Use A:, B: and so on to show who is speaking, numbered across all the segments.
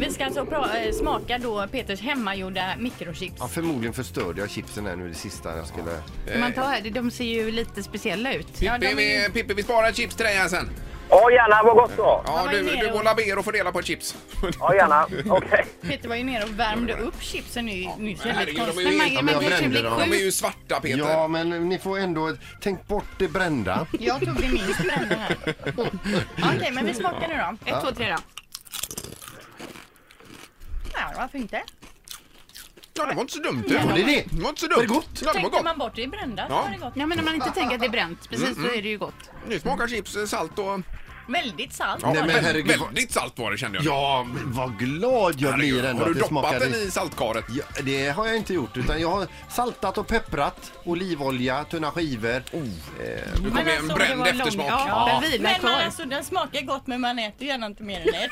A: vi ska alltså pra- eh, smaka då Peters hemmagjorda mikrochips.
B: Ja, förmodligen förstörde jag chipsen här nu det sista jag skulle...
A: När man tar här, det- de ser ju lite speciella ut. Ja, de
C: Pippi,
A: är ju-
C: vi, Pippi, vi sparar ett chips till dig här sen.
D: Ja, gärna. Vad gott då.
C: Ja,
A: var
C: du,
A: ju nere
C: du
A: och-
C: går ber och får dela på ett chips.
D: Ja, gärna. Okej.
A: Peter var ju nere och värmde upp chipsen nu, nyss.
C: men
A: Väldigt
C: herregud, de är
A: konstigt.
C: ju
A: Men man, man,
C: helt-
B: Ja, men jag
A: kanske
B: brände
A: blir
B: dem.
C: De är
A: sjuk.
C: ju svarta, Peter.
B: Ja, men ni får ändå... Tänk bort det brända.
A: Jag tog det minst brända här. Okej, men vi smakar nu då.
E: Ett, två, tre då.
A: Ja, varför inte?
C: Ja, det var inte så dumt.
B: Var det det?
C: Det var inte så dumt. Var det gott? Ja, det var
A: Tänkte
C: gott.
A: man bort det i brända så
C: Ja. Mm,
A: var det gott.
E: Ja, men om man inte tänker att det är bränt, precis, då är det ju gott.
C: Nu smakar chips eh, salt och...
A: Väldigt salt.
B: Nej, men
C: Vä-
B: herregud, vad-
C: Väldigt salt var det kände jag.
B: Ja, men vad glad jag blir
C: Herregud,
B: ändå
C: Har du
B: att det
C: doppat
B: smakade...
C: den i saltkaret?
B: Ja, det har jag inte gjort, utan jag har saltat och pepprat, olivolja, tunna skivor.
C: Oh. Nu kommer
A: alltså,
C: en bränd eftersmak.
E: Ja, den vilar
A: Men man,
E: kvar.
A: alltså, den smakar gott men man äter gärna inte mer än ett.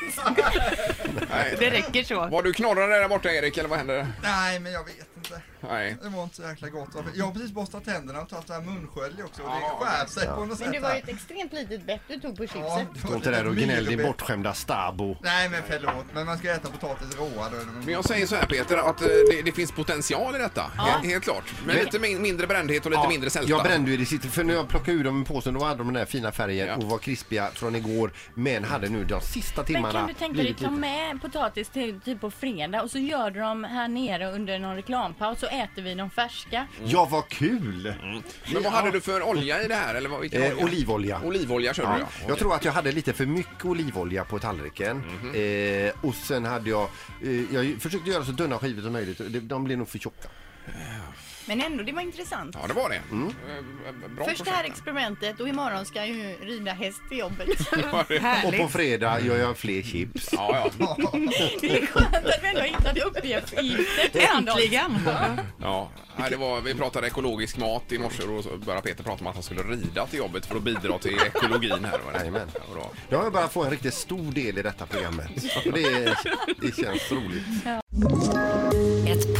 C: Nej.
E: Det räcker så.
C: Var du knorrade där borta Erik eller vad hände?
F: Nej, men jag vet inte.
C: Nej.
F: Det var inte så jäkla gott. Jag har precis borstat tänderna och tagit det här munskölj också och
C: Ja,
F: det skär sig på något sätt.
A: Men det var ju
F: här.
A: ett extremt litet bett du tog på
F: Ja,
A: chipset.
F: det var
B: Stå inte
F: lite
B: där och gnäll din
F: mygelben.
B: bortskämda stabo.
F: Nej, men förlåt. Men man ska äta potatis råa då. är det väl
C: Men jag säger så här Peter, att eh, det, det finns potential i detta. Helt, helt klart. Men lite min, mindre brändhet och lite
B: Ja,
C: mindre sälta.
B: Jag brände ju det sista, för när jag plockade ur dem i påsen då hade de den där fina färgen
C: Ja.
B: och var krispiga från igår. Men hade nu de sista timmarna
A: Men kan du tänka dig
B: blivit
A: ta
B: lite-
A: med potatis till typ på fredag och så gör du dem här nere under någon reklampaus så äter vi dem färska.
B: Ja, vad kul!
C: Men vad hade du för olja i det här? Eller vad, vilken
B: Eh,
C: olja?
B: olivolja.
C: Olivolja körde du
B: Ja.
C: ja.
B: Mm. Jag tror att jag hade lite för mycket olivolja på tallriken. eh, och sen hade jag... Eh, jag försökte göra så tunna skivor som möjligt. De, de blev nog för tjocka.
A: Men ändå, det var intressant.
C: Ja, det var det. Eh, Bra
A: Först det här
C: projekt.
A: experimentet och imorgon ska jag ju rida häst till jobbet.
B: Och på
E: Härligt.
B: fredag gör jag fler chips.
C: Ja, ja.
A: Det är skönt att vi ändå hittade uppgifter till varandra.
E: Äntligen!
C: ja. Nej, det var, vi pratade ekologisk mat i morse och då började Peter prata om att han skulle rida till jobbet för att bidra till ekologin här. Var det?
B: Jajamän.
C: Ja, bra.
B: Jag har bara fått en riktigt stor del i detta programmet. Och det, är- det känns roligt.
G: Ett